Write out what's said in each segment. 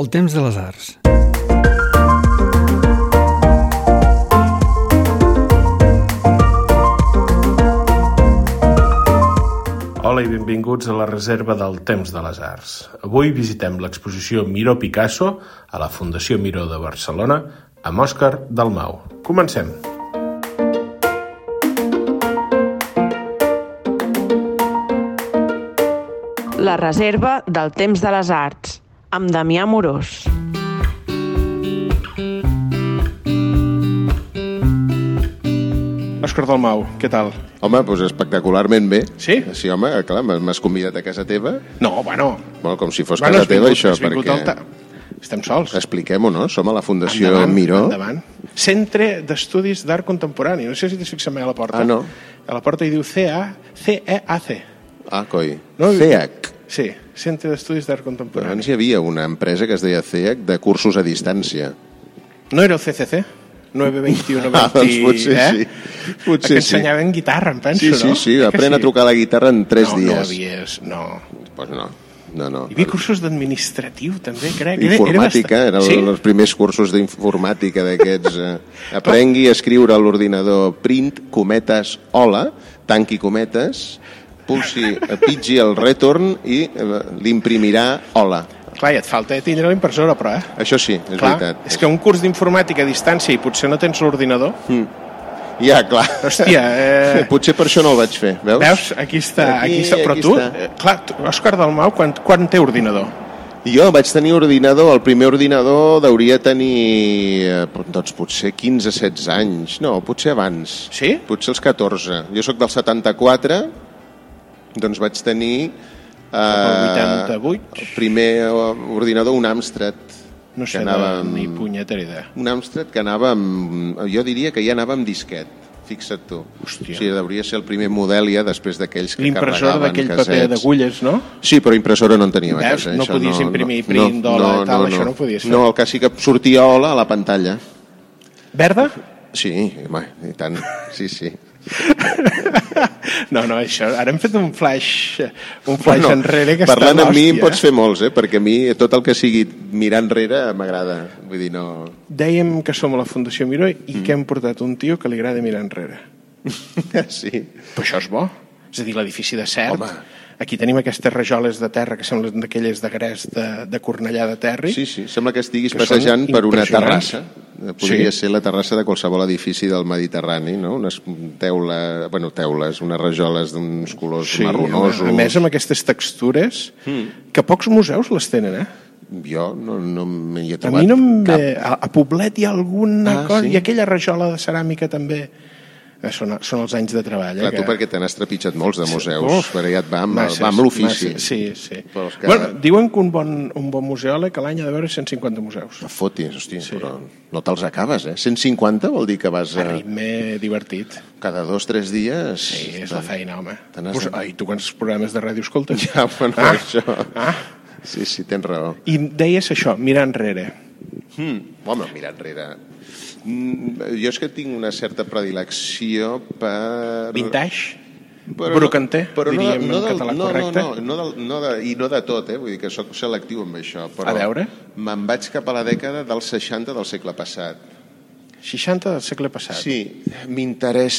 El temps de les arts. Hola i benvinguts a la Reserva del Temps de les Arts. Avui visitem l'exposició Miró Picasso a la Fundació Miró de Barcelona amb Òscar Dalmau. Comencem. La reserva del temps de les arts, amb Damià Morós. Òscar Dalmau, què tal? Home, doncs espectacularment bé. Sí? Sí, home, clar, m'has- m'has convidat a casa teva. No, bueno... Bueno, com si fos casa teva, això, has vingut al perquè... ta... Estem sols. Expliquem-ho, no? Som a la Fundació Miró. Endavant. Centre d'Estudis d'Art Contemporani. No sé si t'has fixat mai a la porta. Ah, no. A la porta hi diu CA, E CEAC. Ah, coi. No? CEAC. Sí, Centre d'Estudis d'Art Però Contemporani. abans hi havia una empresa que es deia CEAC de cursos a distància. No era el CCC? 921 Ah, doncs potser eh? sí. Potser Potser que sí. ensenyaven guitarra, em penso, Sí, no? sí, sí, Que aprèn sí? a trucar la guitarra en tres no, No, dies. havies, no. Pues no, no, no. Hi havia cursos d'administratiu, també, crec. Era- Informàtica, era eren bastant... els primers cursos d'informàtica d'aquests. Eh? Aprengui a escriure a l'ordinador print, cometes, hola, tanqui cometes, pulsi, eh, pitgi el retorn i eh, l'imprimirà hola. Sí. Clar, i et falta tindre la impressora, però, eh? Això sí, és clar, veritat. és que un curs d'informàtica a distància i potser no tens l'ordinador. Ja, clar. Hòstia, eh... Potser per això no el vaig fer, veus? Veus? Aquí està, aquí, Aquí- està. Però aquí tu, està. eh, clar, tu, Òscar Dalmau, quan, quan té ordinador? Jo vaig tenir ordinador, el primer ordinador deuria tenir, eh, doncs potser 15-16 anys, no, potser abans. Sí? Potser els 14. Jo sóc del 74, doncs vaig tenir... Eh, El 88? El primer ordinador, un Amstrad. No sé, que anava... anava amb- ni punyetera idea. Un Amstrad que anava amb... Jo diria que ja anava amb disquet, fixa't tu. Hòstia. O sigui, deuria ser el primer model ja després d'aquells que L'impressora carregaven d'aquell paper cassets. d'agulles, no? Sí, però impressora no en teníem a Veus? casa. No això podies imprimir print, dòlar i tal, això no ho podies fer. No, el que sí que sortia hola a la pantalla. Verda? Sí, home, i tant, sí, sí. No, no, això, ara hem fet un flash, un flash Bueno, enrere que parlant està amb mi l'hòstia. en pots fer molts, eh? perquè a mi tot el que sigui mirar enrere m'agrada. Vull dir, no... Dèiem que som a la Fundació Miró i mm. que hem portat un tio que li agrada mirar enrere. Sí. Però això és bo. És a dir, l'edifici de Cert, Home. aquí tenim aquestes rajoles de terra que semblen d'aquelles de gres de, de Cornellà de Terri. sí, sí, sembla que estiguis Que són passejant per una impressionants. terrassa. Podria Sí. ser la terrassa de qualsevol edifici del Mediterrani, no? Unes teula, bueno, teules, unes rajoles d'uns colors marronosos. a, a més amb aquestes textures, mm. que pocs museus les tenen, eh? Jo no, no m'hi he A trobat mi no em cap. ve... A, a Poblet hi ha alguna Ah, cosa... sí? I aquella rajola de ceràmica també... Eh, Són, són els anys de treball. Eh, Clar, tu que- perquè te n'has trepitjat molts de museus, Uf, però ja et va amb, masses, va amb l'ofici. masses, Sí, sí. Però els Que... que- Bueno, diuen que un bon, un bon museòleg a l'any ha de veure 150 museus. No fotis, hòstia, sí. però no te'ls acabes, eh? 150 vol dir que vas A a, ritme divertit. cada dos, tres dies... Sí, és la feina, home. te n'has Pues, de- ai, tu quants programes de ràdio escoltes? Ja, bueno, Ah, ah. això... Ah. Sí, sí, tens raó. I deies això, mirar enrere. Mm. Home, mira enrere. Mm, jo és que tinc una certa predilecció per... Vintage? Brocanter, diríem en català no, correcte. No, no, no, del, no de, i no de tot, eh? vull dir que sóc selectiu amb això. Però A veure. Me'n vaig cap a la dècada dels 60 del segle passat. 60 del segle passat. Sí,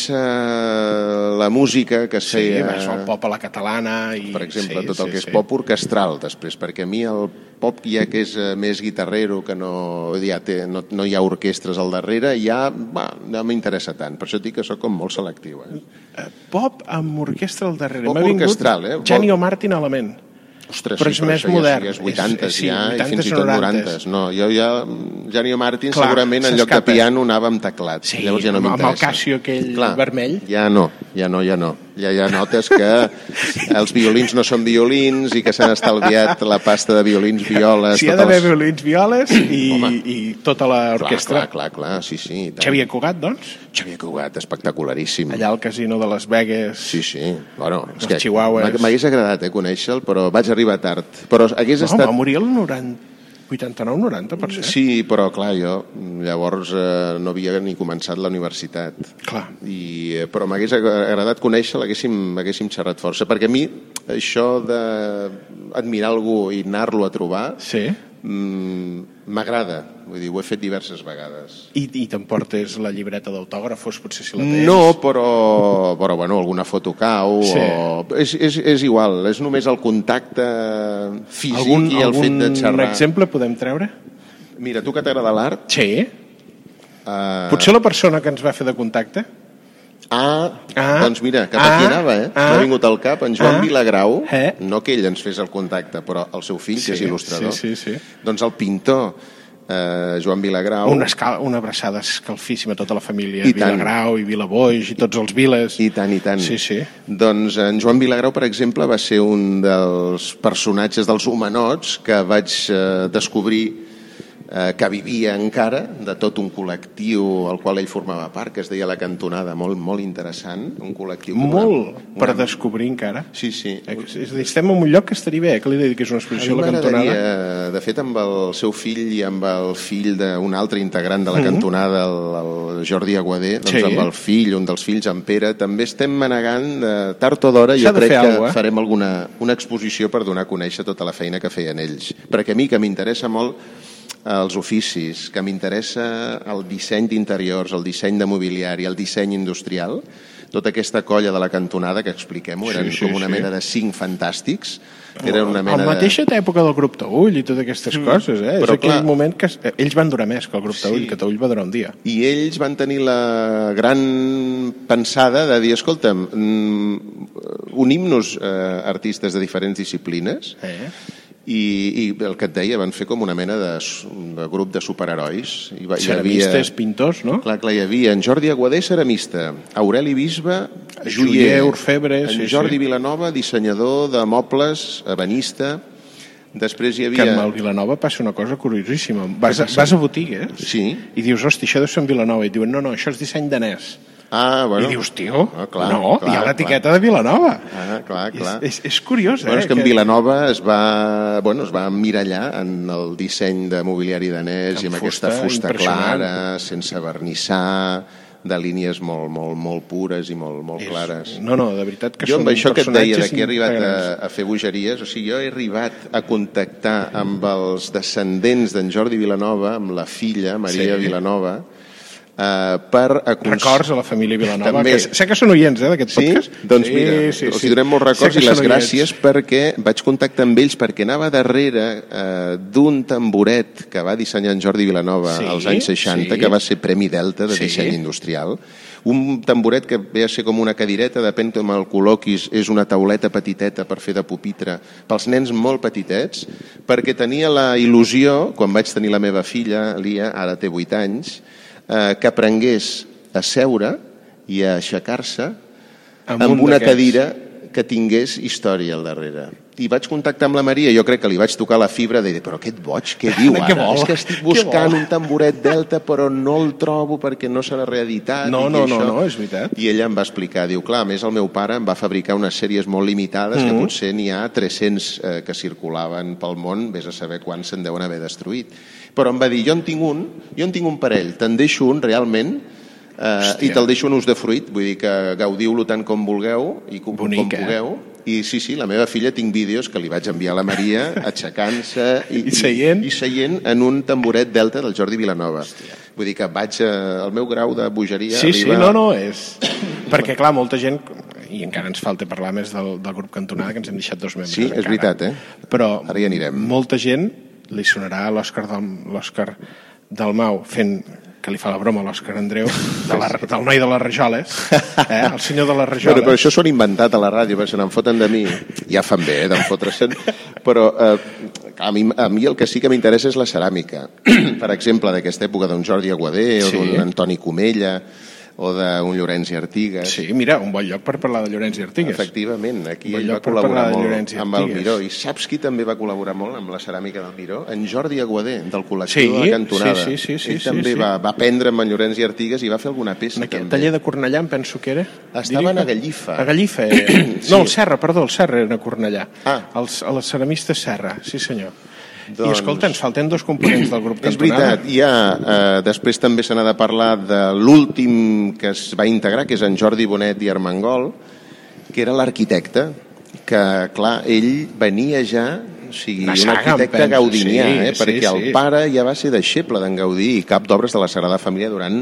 m'interessa la música que Sí, sé, vas al pop a la catalana i... eh, per exemple, sí, tot el sí, que és sí. pop orquestral després, perquè a mi el pop ja que és eh, més guitarrero, que no, ja té, no, no hi ha orquestres al darrere, ja va, no m'interessa tant, per això et dic que sóc com molt selectiu. Eh? Eh, Pop amb orquestra al darrere. Pop M'ha vingut orquestral, eh? Janio Martin a la ment. Ostres, Però és més això modern. Ja, és És- 80 sí, ja, 80s, i fins i tot 90s. 90. No, jo ja, Janio Martin Clar, segurament en lloc de s'escapa. piano anava amb teclat. Sí, llavors ja no amb- amb m'interessa. el Casio aquell vermell. Ja no, ja no, ja no. Ja, ja notes que els violins no són violins i que s'han estalviat la pasta de violins, violes... Si hi ha totes d'haver les- violins, violes i, i tota l'orquestra. Clar, clar, clar, clar, sí, sí. i tant. Xavier Cugat, doncs, Xavier Cugat, espectacularíssim. allà al casino de Las Vegas. Sí, sí. Bueno, és Els que chihuahuas. m'ha- M'hagués agradat eh, conèixer-lo, però vaig arribar tard. Però hagués no, estat... va morir el 90, 89-90, per cert. Sí, però clar, jo llavors eh, no havia ni començat la universitat. Clar. I, eh, però m'hagués ag- agradat conèixer, l'haguéssim haguéssim xerrat força, perquè a mi això d'admirar algú i anar-lo a trobar Sí. mm, m'agrada. Vull dir, ho he fet diverses vegades. I, i t'emportes la llibreta d'autògrafos, potser si la tens? No, però, però bueno, alguna foto cau Sí. sí. o... És, és, és igual, és només el contacte físic algun, i el algun fet de xerrar. exemple podem treure? Mira, tu que t'agrada l'art... Sí. Eh... Potser la persona que ens va fer de contacte? Ah, Ah. ah, doncs mira, cap Ah. aquí anava, eh? Ah. M'ha vingut al cap en Joan Ah. Vilagrau, Eh. no que ell ens fes el contacte, però el seu fill, que és Sí, il·lustrador. sí, sí, sí. Doncs el pintor eh, Joan Vilagrau... Una, escala, una abraçada escalfíssima a tota la família I tant. Vilagrau i Vilaboix i tots els viles. I tant, i tant. Sí, sí. Doncs en Joan Vilagrau, per exemple, va ser un dels personatges dels humanots que vaig eh, descobrir eh, que vivia encara, de tot un col·lectiu al qual ell formava part, que es deia La Cantonada, molt, molt interessant, un col·lectiu... que Molt Una, per descobrir encara. Sí, sí. Eh, És a dir, estem en un lloc que estaria bé, eh, que li he de dir que és una exposició a la cantonada. M'agradaria, de fet, amb el seu fill i amb el fill d'un altre integrant de la cantonada, el, el Jordi Aguadé, doncs Mhm. Sí. amb el fill, un dels fills, en Pere, també estem manegant de tard o d'hora, S'ha jo de crec fer que alguna cosa, eh? farem alguna, una exposició per donar a conèixer tota la feina que feien ells. Perquè a mi, que m'interessa molt eh, els oficis, que m'interessa el disseny d'interiors, el disseny de mobiliari, el disseny industrial, tota aquesta colla de la cantonada, que expliquem-ho, eren Sí, sí, com una sí. mena de cinc fantàstics, era una mena Mm. a la mateixa època del grup Taüll i totes aquestes coses, eh? Però és aquell clar- moment que... es- eh, Ells van durar més que el grup Taüll, que Taüll va durar un dia. de... I ells van tenir la gran pensada de dir, escolta'm, mm, unim-nos eh, artistes de diferents disciplines Eh? i, i el que et deia, van fer com una mena de, s- de grup de superherois. I va, hi Ceramistes, pintors, no? Clar, clar, hi havia en Jordi Aguadé, ceramista, Aureli Bisbe, Joier, joier, orfebre, en sí, Jordi sí. Vilanova, dissenyador de mobles, ebenista, després hi Que havia... amb el Vilanova passa una cosa curiosíssima. Vas a, vas a botigues Sí. i dius, hosti, això deu ser en Vilanova. I et diuen, no, no, això és disseny danès. Ah, bueno. I dius, tio, Ah, clar, no, clar, hi ha clar. l'etiqueta de Vilanova. Ah, clar, clar. És, és, és curiós, Bueno, eh? és que en Vilanova es va, bueno, es va mirallar en el disseny de mobiliari danès Amb i amb aquesta fusta, fusta impressionant. clara, sense vernissar, de línies molt, molt, molt pures i molt, molt clares. No, no, de veritat que Jo són amb això que et deia, de personatges que he arribat a, integrants. a fer bogeries, o sigui, jo he arribat a contactar amb els descendents d'en Jordi Vilanova, amb la filla, Maria Sí. sí. Vilanova, eh, per aconseguir... Records a la família Vilanova. També. Que sé- sé que són oients, eh, d'aquest Sí? podcast. Doncs sí, mira, sí, els donem molts records Sé i que les són oients. gràcies perquè vaig contactar amb ells perquè anava darrere eh, d'un tamboret que va dissenyar en Jordi Vilanova Sí, sí, als anys 60, sí. sí. que va ser Premi Delta de Sí. sí. disseny industrial. Un tamboret que ve a ser com una cadireta, depèn com el col·loquis, és una tauleta petiteta per fer de pupitre, pels nens molt petitets, perquè tenia la il·lusió, quan vaig tenir la meva filla, Lia, ara té 8 anys, eh, que aprengués a seure i a aixecar-se amb, amb un una d'aquests. cadira que tingués història al darrere. I vaig contactar amb la Maria, jo crec que li vaig tocar la fibra de dir, però aquest boig, què diu ara? Què vol? És que estic Què buscant vol?" un tamboret delta però no el trobo perquè no se l'ha reeditat. i No, no, que no, això... no, és veritat. I ella em va explicar, diu, clar, a més el meu pare em va fabricar unes sèries molt limitades Mm-hmm. mm -hmm. que potser n'hi ha 300 eh, que circulaven pel món, vés a saber quants se'n deuen haver destruït. Però em va dir, jo en tinc un, jo en tinc un parell, te'n deixo un realment eh, i Hòstia. te'l deixo en ús de fruit, vull dir que gaudiu-lo tant com vulgueu i com, Bonic, com eh? pugueu. I sí, sí, la meva filla tinc vídeos que li vaig enviar a la Maria aixecant-se I seient. i seient en un tamboret delta del Jordi Vilanova. Vull dir que vaig, eh, el meu grau de bogeria Sí, sí, arriba no, no, és... Perquè, clar, molta gent, i encara ens falta parlar més del, del grup cantonada, que ens hem deixat dos membres Sí, és encara. veritat, eh? Però Ara hi anirem. molta gent li sonarà a l'Òscar del, l'Òscar Dalmau fent que li fa la broma a l'Òscar Andreu, de la, del noi de les rajoles, eh? el senyor de les rajoles. Bueno, però això s'ho han inventat a la ràdio, perquè se n'en foten de mi. Ja fan bé, eh, d'en fotre-se'n. Però eh, a, mi, a mi el que sí que m'interessa és la ceràmica. per exemple, d'aquesta època d'un Jordi Aguadé, o Sí. d'un Antoni Comella, o d'un Llorenç i Artigas. Sí, mira, un bon lloc per parlar de Llorenç i Artigues. Efectivament, aquí Bon ell va lloc per parlar col·laborar de molt Llorenç i amb el Artigas. Miró. I saps qui també va col·laborar molt amb la ceràmica del Miró? En Jordi Aguadé, del Sí, col·lectiu de la Cantonada. sí, sí, sí, sí, ell sí, també sí. Va, va aprendre amb en Llorenç i Artigas i va fer alguna peça. En aquell també. taller de Cornellà, em penso que era. Estaven Diria que- a Gallifa. A Gallifa, era. No, el Serra, perdó, el Serra era a Cornellà. Ah. Els, els ceramistes Serra, sí senyor. I Doncs- escolta, ens falten dos components del grup És cantonada. veritat, hi ha, eh, després també se n'ha de parlar de l'últim que es va integrar, que és en Jordi Bonet i Armengol, que era l'arquitecte, que, clar, ell venia ja sigui, Una un saga, em arquitecte penso, gaudinià, sí, eh? sí, perquè el sí. pare ja va ser deixeble d'en Gaudí i cap d'obres de la Sagrada Família durant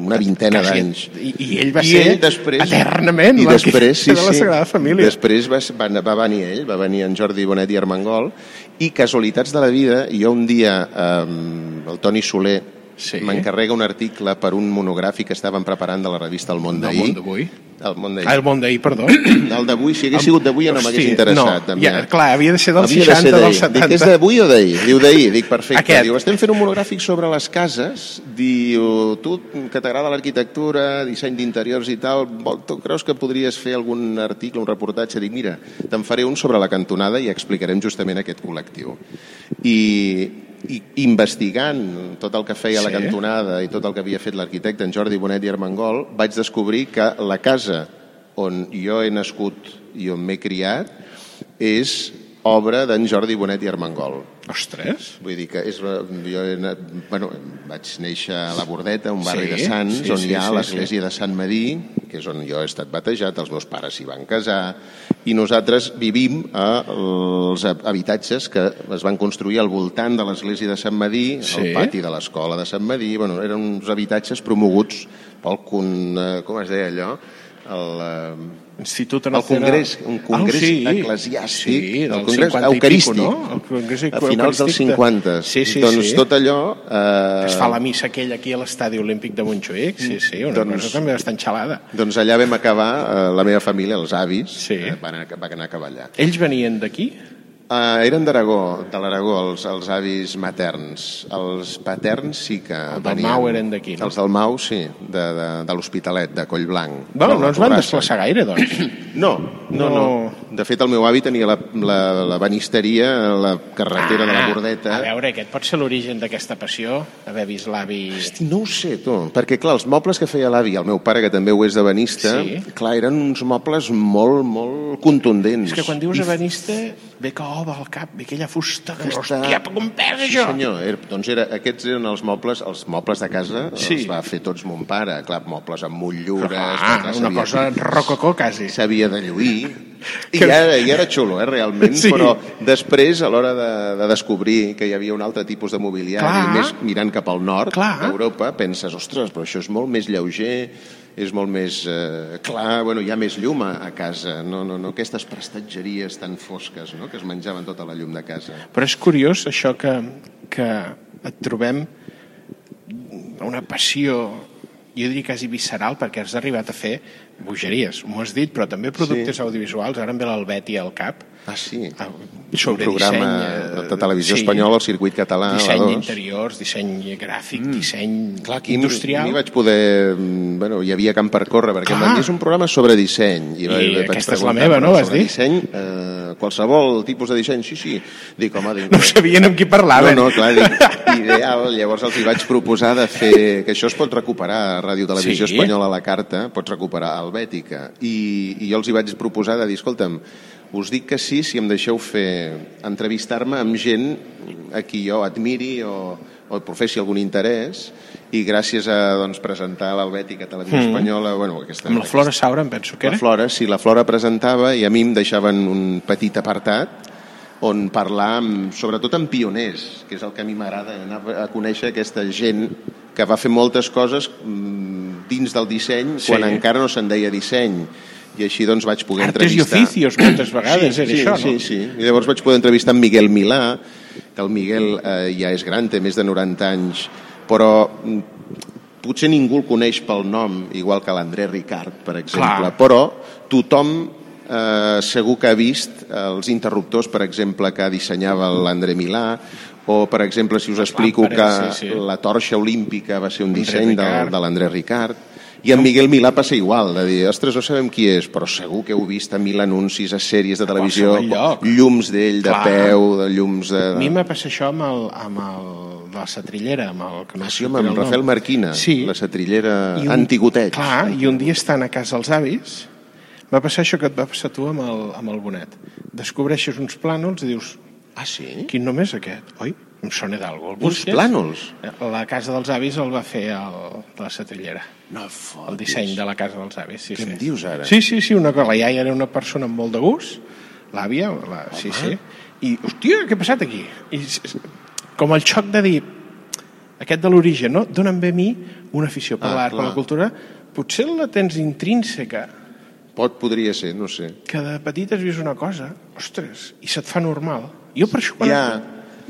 una vintena Quasi- d'anys. I, I ell va I ser ell després, eternament i després, sí, l'arquitecte de la sí. Sagrada Família. Després va, ser- va, va venir ell, va venir en Jordi Bonet i Armengol, i casualitats de la vida, jo un dia, eh, el Toni Soler Sí. m'encarrega un article per un monogràfic que estàvem preparant de la revista El Món Del d'ahir. món d'avui. El Món d'ahir. Ah, el món d'ahir, perdó. El d'avui, si hagués sigut d'avui ja no m'hagués Hosti, interessat. no, també. ja, clar, havia de ser dels Havia de 60, d'ahir. dels 70. Dic, és d'avui o d'ahir? Diu d'ahir, dic perfecte. Aquest. Diu, estem fent un monogràfic sobre les cases, diu, tu que t'agrada l'arquitectura, disseny d'interiors i tal, vol- tu creus que podries fer algun article, un reportatge? Dic, mira, te'n faré un sobre la cantonada i explicarem justament aquest col·lectiu. I i investigant tot el que feia sí. la Sí. cantonada i tot el que havia fet l'arquitecte en Jordi Bonet i Armengol, vaig descobrir que la casa on jo he nascut i on m'he criat és obra d'en Jordi Bonet i Armengol. Ostres. Vull dir que és, la- jo he anat, bueno, vaig néixer a la Bordeta, un barri Sí, de Sants, sí, on sí, hi ha sí, l'església de Sant Medí, que és on jo he estat batejat, els meus pares s'hi van casar, i nosaltres vivim als habitatges que es van construir al voltant de l'església de Sant Medí, sí. Sí. al pati de l'escola de Sant Medí, bueno, eren uns habitatges promoguts pel, con, eh, com es deia allò, el, eh, Institut el Nacional... Congrés, un congrés ah, sí. eclesiàstic, sí, del el congrés 50 i eucarístic, pico, no? El congrés a finals dels eucarístic de- 50. Sí, sí, doncs sí. tot allò... Eh, Es fa la missa aquella aquí a l'estadi olímpic de Montjuïc, sí, sí, una Doncs- doncs... cosa també bastant xalada. Doncs allà vam acabar, eh, la meva família, els avis, Sí. eh, van, a- van anar a cavallar. Ells venien d'aquí? Uh, eren d'Aragó, de l'Aragó, els, els avis materns. Els paterns sí que del venien. Mau eren d'aquí, no? Els del Mau, sí, de, de, de l'Hospitalet, de Collblanc. Bueno, de no ens van Torrassa. desplaçar gaire, doncs. No, no, no. No. De fet, el meu avi tenia la, la, la banisteria, a la carretera Ah, de la Bordeta. A veure, aquest pot ser l'origen d'aquesta passió, haver vist l'avi... Hosti, no ho sé, tu, perquè clar, els mobles que feia l'avi, el meu pare, que també ho és de benista, sí. Sí. clar, eren uns mobles molt, molt contundents. És que quan dius ebenista, ve que oba al cap, ve aquella fusta que, Aquesta- hòstia, com pesa Sí, això? senyor, era, doncs era, aquests eren els mobles, els mobles de casa, sí. Sí. els va fer tots mon pare, clar, mobles amb motllures... Ah, clar, una s'havia- cosa rococó, quasi. s'havia de lluir i Que- ja, ja era xulo, eh, realment, sí. Sí. però després, a l'hora de, de descobrir que hi havia un altre tipus de mobiliari, Clar. més mirant cap al nord Clar. d'Europa, penses, ostres, però això és molt més lleuger, és molt més eh, clar, bueno, hi ha més llum a, a casa, no, no, no aquestes prestatgeries tan fosques no? que es menjaven tota la llum de casa. Però és curiós això que, que et trobem una passió jo diria quasi visceral perquè has arribat a fer bogeries, m'ho has dit, però també productes Sí. sí. audiovisuals, ara em ve l'Albeti al cap, Ah, sí? ah, sobre un programa disseny... eh, de televisió espanyola, el circuit català, Disseny la dos. d'interiors, disseny gràfic, mm. disseny Clar, Aquí industrial. industrial... M'hi vaig poder... mm, Bueno, hi havia camp per córrer, perquè Clar. em van dir, és un programa sobre disseny. I, I vaig aquesta és la preguntar, meva, "Però no?", vas sobre dir? disseny, eh, qualsevol tipus de disseny, sí, sí. Dic, home, dic, No sabien amb qui no, parlaven. no, clar, dic, ideal. Llavors els hi vaig proposar de fer... Que això es pot recuperar a Ràdio Televisió Sí. Espanyola a la carta, pots recuperar a Albètica. I, I jo els hi vaig proposar de dir, escolta'm, us dic que sí si em deixeu fer entrevistar-me amb gent a qui jo admiri o, o professi algun interès i gràcies a doncs, presentar l'Albètica Televisió mm. Espanyola... Bueno, aquesta, Amb la Flora Saura, em penso que la era. Flora, sí, la Flora presentava i a mi em deixaven un petit apartat on parlar amb, sobretot amb pioners, que és el que a mi m'agrada anar a conèixer aquesta gent que va fer moltes coses mm, dins del disseny sí. Sí. quan encara no se'n deia disseny. I així doncs vaig poder Artes i entrevistar... oficios, moltes vegades, sí, era sí, això, sí, no? Sí, I llavors vaig poder entrevistar en Miguel Milà, que el Miguel eh, ja és gran, té més de 90 anys, però mm, potser ningú el coneix pel nom, igual que l'André Ricard, per exemple, Clar. però tothom eh, segur que ha vist eh, els interruptors, per exemple, que dissenyava l'André Milà, o, per exemple, si us explico que làmperes, sí, sí. la torxa olímpica va ser un disseny del, Ricard. de l'André Ricard, i en Miguel Milà passa igual, de dir, ostres, no sabem qui és, però segur que heu vist a mil anuncis, a sèries de televisió, qualsevol Ah, lloc. llums d'ell, de Clar. peu, de llums de... A mi em va passar això amb el, amb el de la Satrillera, amb el que no Ah, sí, sé home, el amb nom. Rafael Marquina, Sí. la satrillera I un- antigoteig. Clar, i un dia estant a casa els avis, va passar això que et va passar a tu amb el, amb el bonet. Descobreixes uns plànols i dius, Ah, sí? quin nom és aquest? Oi? Em sona d'algú. El Uns busques? plànols? La casa dels avis el va fer el, de la Satrillera. No fotis. El disseny de la casa dels avis. Sí, Què sí. em dius ara? Sí, sí, sí, una cosa. La iaia era una persona amb molt de gust, l'àvia, la... sí, sí. I, hòstia, què ha passat aquí? I, s- s- com el xoc de dir, aquest de l'origen, no? Dóna'm bé a mi una afició per Ah, ah, l'art, per clar. la cultura. Potser la tens intrínseca, Pot, podria ser, no sé. que de petit has vist una cosa, ostres, i se't fa normal. Jo per això... Quan Ja.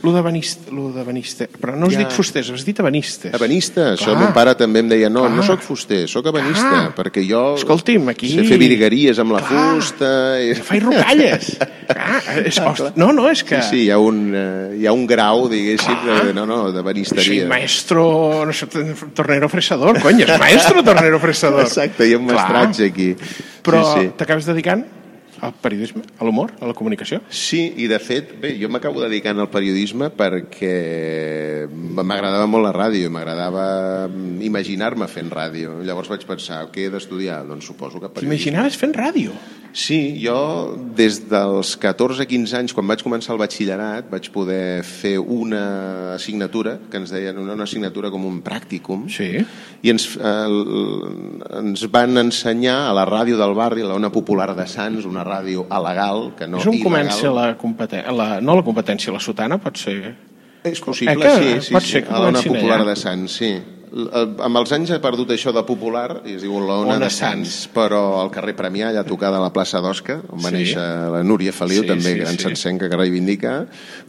Lo de banista, lo de banista, però no us Ja. dic fusters, has dit abanistes. Ebenista, això Clar. mon pare també em deia, no, Clar. no sóc fuster, sóc ebenista, Clar. perquè jo Escolti'm, aquí... sé fer virgueries amb la fusta... eh, I... Se faig rocalles. Clar, és, host... No, no, és que... Ah, Sí, sí, hi ha un, eh, hi ha un grau, diguéssim, de, no, no, de Ah. Sí, banisteria. maestro, no sé, tornero fresador, cony, és maestro tornero fresador. Exacte, hi ha un Clar. mestratge aquí. Però Sí, sí. t'acabes dedicant al periodisme, a l'humor, a la comunicació. Sí, i de fet, bé, jo m'acabo dedicant al periodisme perquè m'agradava molt la ràdio, m'agradava mm, imaginar-me fent ràdio. Llavors vaig pensar, què he d'estudiar? Doncs suposo que periodisme. T'imaginaves fent ràdio. Sí, jo des dels 14-15 anys, quan vaig començar el batxillerat, vaig poder fer una assignatura, que ens deien una, una assignatura com un pràcticum, Sí. i ens, eh, l- ens van ensenyar a la ràdio del barri, la Ona Popular de Sants, una ràdio alegal, que no és on il·legal. comença la competència, la, no la competència, la sotana pot ser... És possible, Eh, que sí, sí, pot sí, ser eh? que a l'Ona comencin Popular allà. de Sants, sí. L- eh, Amb els anys he perdut això de popular i es diu l'Ona Ona de Sants, però al carrer Premià, allà tocada a la plaça d'Osca, on va Sí. néixer la Núria Feliu, Sí, també sí, gran sí. sancenca que reivindica,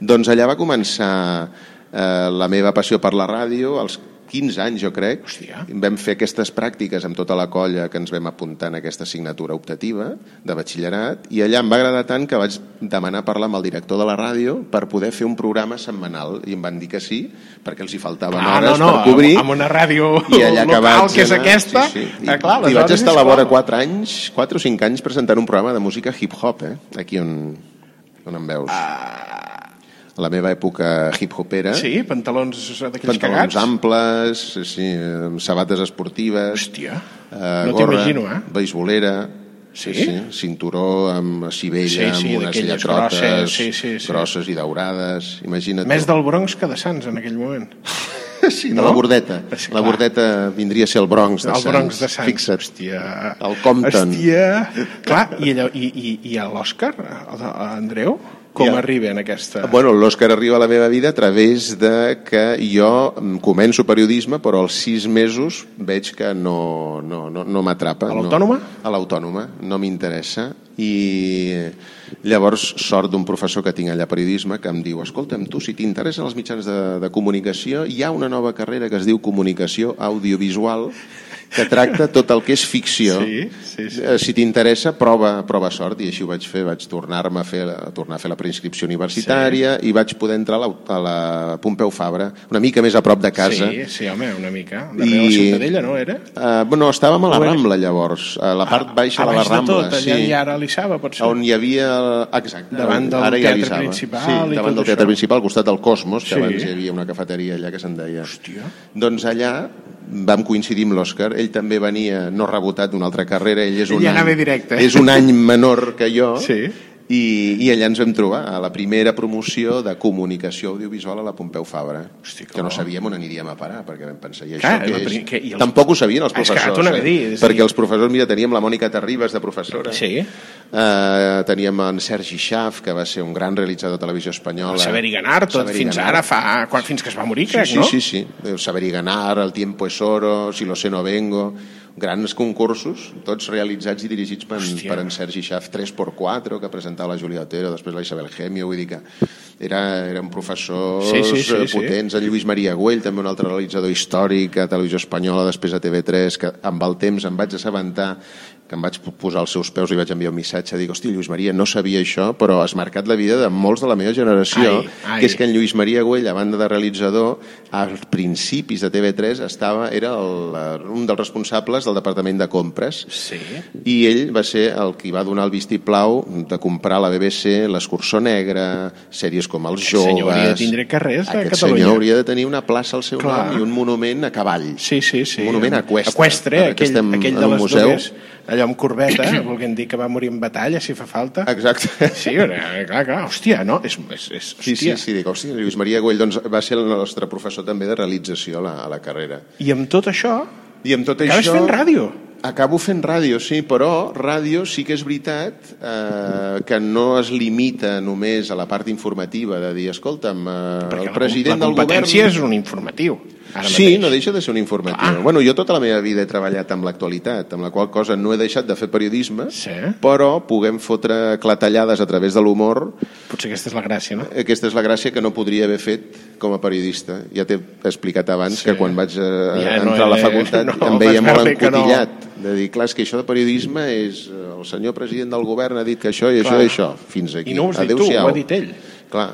doncs allà va començar eh, la meva passió per la ràdio, als 15 anys, jo crec. Hòstia. Vam fer aquestes pràctiques amb tota la colla que ens vam apuntar en aquesta assignatura optativa de batxillerat i allà em va agradar tant que vaig demanar parlar amb el director de la ràdio per poder fer un programa setmanal i em van dir que sí perquè els hi faltaven hores per cobrir Ah, amb una ràdio i allà que local vaig que és anar- aquesta... sí, sí. I, eh, clar, i vaig aleshores estar a és la vora com- 4 anys 4 o 5 anys presentant un programa de música hip-hop eh? aquí on, on em veus a la meva època hip-hopera Ah. Sí, pantalons d'aquells eh? pantalons cagats. amples, sí, sí, amb sabates esportives, Hòstia, eh, no gorra, t'imagino, eh? beisbolera, Sí? cinturó amb civella, Sí, sí, amb unes d'aquelles lletrotes grosses, sí, sí, sí. grosses i daurades, imagina't. Més del Bronx que de Sants en aquell moment. sí, de la bordeta. Sí, La clar. bordeta vindria a ser el Bronx de El Sants. Bronx de Sants. Fixa't. Hòstia. El Compton. Hòstia. Clar, i, allò, i, i, i a l'Òscar, a- a Andreu, com Ja. ja. arriba en aquesta... Bueno, l'Òscar arriba a la meva vida a través de que jo mm, començo periodisme, però als sis mesos veig que no, no, no, no m'atrapa. A l'Autònoma? No, a l'Autònoma, no m'interessa. I eh, llavors, sort d'un professor que tinc allà a periodisme que em diu, escolta'm, tu, si t'interessen els mitjans de, de comunicació, hi ha una nova carrera que es diu comunicació audiovisual que tracta tot el que és ficció. Sí, sí, sí. Eh, si t'interessa, prova, prova sort, i així ho vaig fer, vaig tornar-me a, fer, a tornar a fer la preinscripció universitària sí. i vaig poder entrar a la, a la Pompeu Fabra, una mica més a prop de casa. Sí, sí, home, una mica. De I- I... la Ciutadella, no era? Uh, bueno, estàvem a la Ho era. Rambla, llavors, a la part baixa a de la baix Rambla, tot, allà sí, i ara a l'Issaba, potser. on hi havia... Exacte, Davant del ara hi teatre avisava. principal Sí, i davant tot del teatre això. principal, al costat del Cosmos, que Sí. abans hi havia una cafeteria allà que se'n deia. Hòstia. Doncs allà vam coincidir amb l'Òscar, ell també venia no rebotat d'una altra carrera, ell és Ell un, anava any, directe. és un any menor que jo, Sí. i, i allà ens vam trobar a la primera promoció de comunicació audiovisual a la Pompeu Fabra, Hosti, que que no bo. sabíem on aniríem a parar, perquè vam pensar, i això Clar, la què és? pri- que- i els- Tampoc ho sabien els Ah, és que professors, eh? t'ho anava a dir, és a dir- perquè els professors, mira, teníem la Mònica Terribas de professora, Sí. eh, teníem en Sergi Schaaf, que va ser un gran realitzador de televisió espanyola. El saber i ganar, tot Saber i fins ganar. ara fa... Quan, fins que es va morir, Sí, crec, sí, no? sí, sí. El saber y ganar, El tiempo es oro, Si lo sé no vengo... Grans concursos, tots realitzats i dirigits per, en- Hòstia. per en Sergi Schaaf, 3x4, que presentava la Júlia Otero, després la Isabel Gemio, vull dir que era, eren professors Sí, sí, sí, eh, sí. potents, en Lluís Maria Güell, també un altre realitzador històric a Televisió Espanyola, després a TV3, que amb el temps em vaig assabentar que em vaig posar als seus peus i vaig enviar un missatge, dic, hosti, Lluís Maria, no sabia això, però has marcat la vida de molts de la meva generació, Ai, ai. que és que en Lluís Maria Güell, a banda de realitzador, als principis de TV3 estava, era el, eh, un dels responsables del departament de compres Sí. i ell va ser el qui va donar el vistiplau de comprar a la BBC l'escursó negre, sèries com Els Aquest Joves... senyor hauria de tindre carrers a Aquest Catalunya. senyor hauria de tenir una plaça al seu Clar. nom i un monument a cavall. Sí, sí, sí. Un monument a Cuestre. Equestre, Ara que aquell, estem aquell en de un les museu. dues, allò amb corbeta, volguem dir que va morir en batalla, si fa falta. Ah. Exacte. Sí, eh, clar, clar, hòstia, no? És, és, és, Sí, hòstia. sí, sí, dic, hòstia, Lluís Maria Güell doncs, va ser el nostre professor també de realització a la, a la carrera. I amb tot això, I amb tot acabes això... fent ràdio. Acabo fent ràdio, sí, però ràdio sí que és veritat eh, que no es limita només a la part informativa de dir, escolta'm, eh, Perquè el la- president la del govern... competència és un informatiu. Ara Sí, mateix. no deixa de ser un informatiu. Clar. Bueno, jo tota la meva vida he treballat amb l'actualitat, amb la qual cosa no he deixat de fer periodisme, Sí. però puguem fotre clatellades a través de l'humor. Potser aquesta és la gràcia, no? Aquesta és la gràcia que no podria haver fet com a periodista. Ja t'he explicat abans Sí. que quan vaig eh, Ja no entrar a la era- facultat no, em veia vas molt veure que no. encotillat. De dir, clar, és que això de periodisme és... eh, El senyor president del govern ha dit que això i això Clar. i això. Fins aquí. I no ho has dit tu, Adéu-siau. ho ha dit ell. Clar,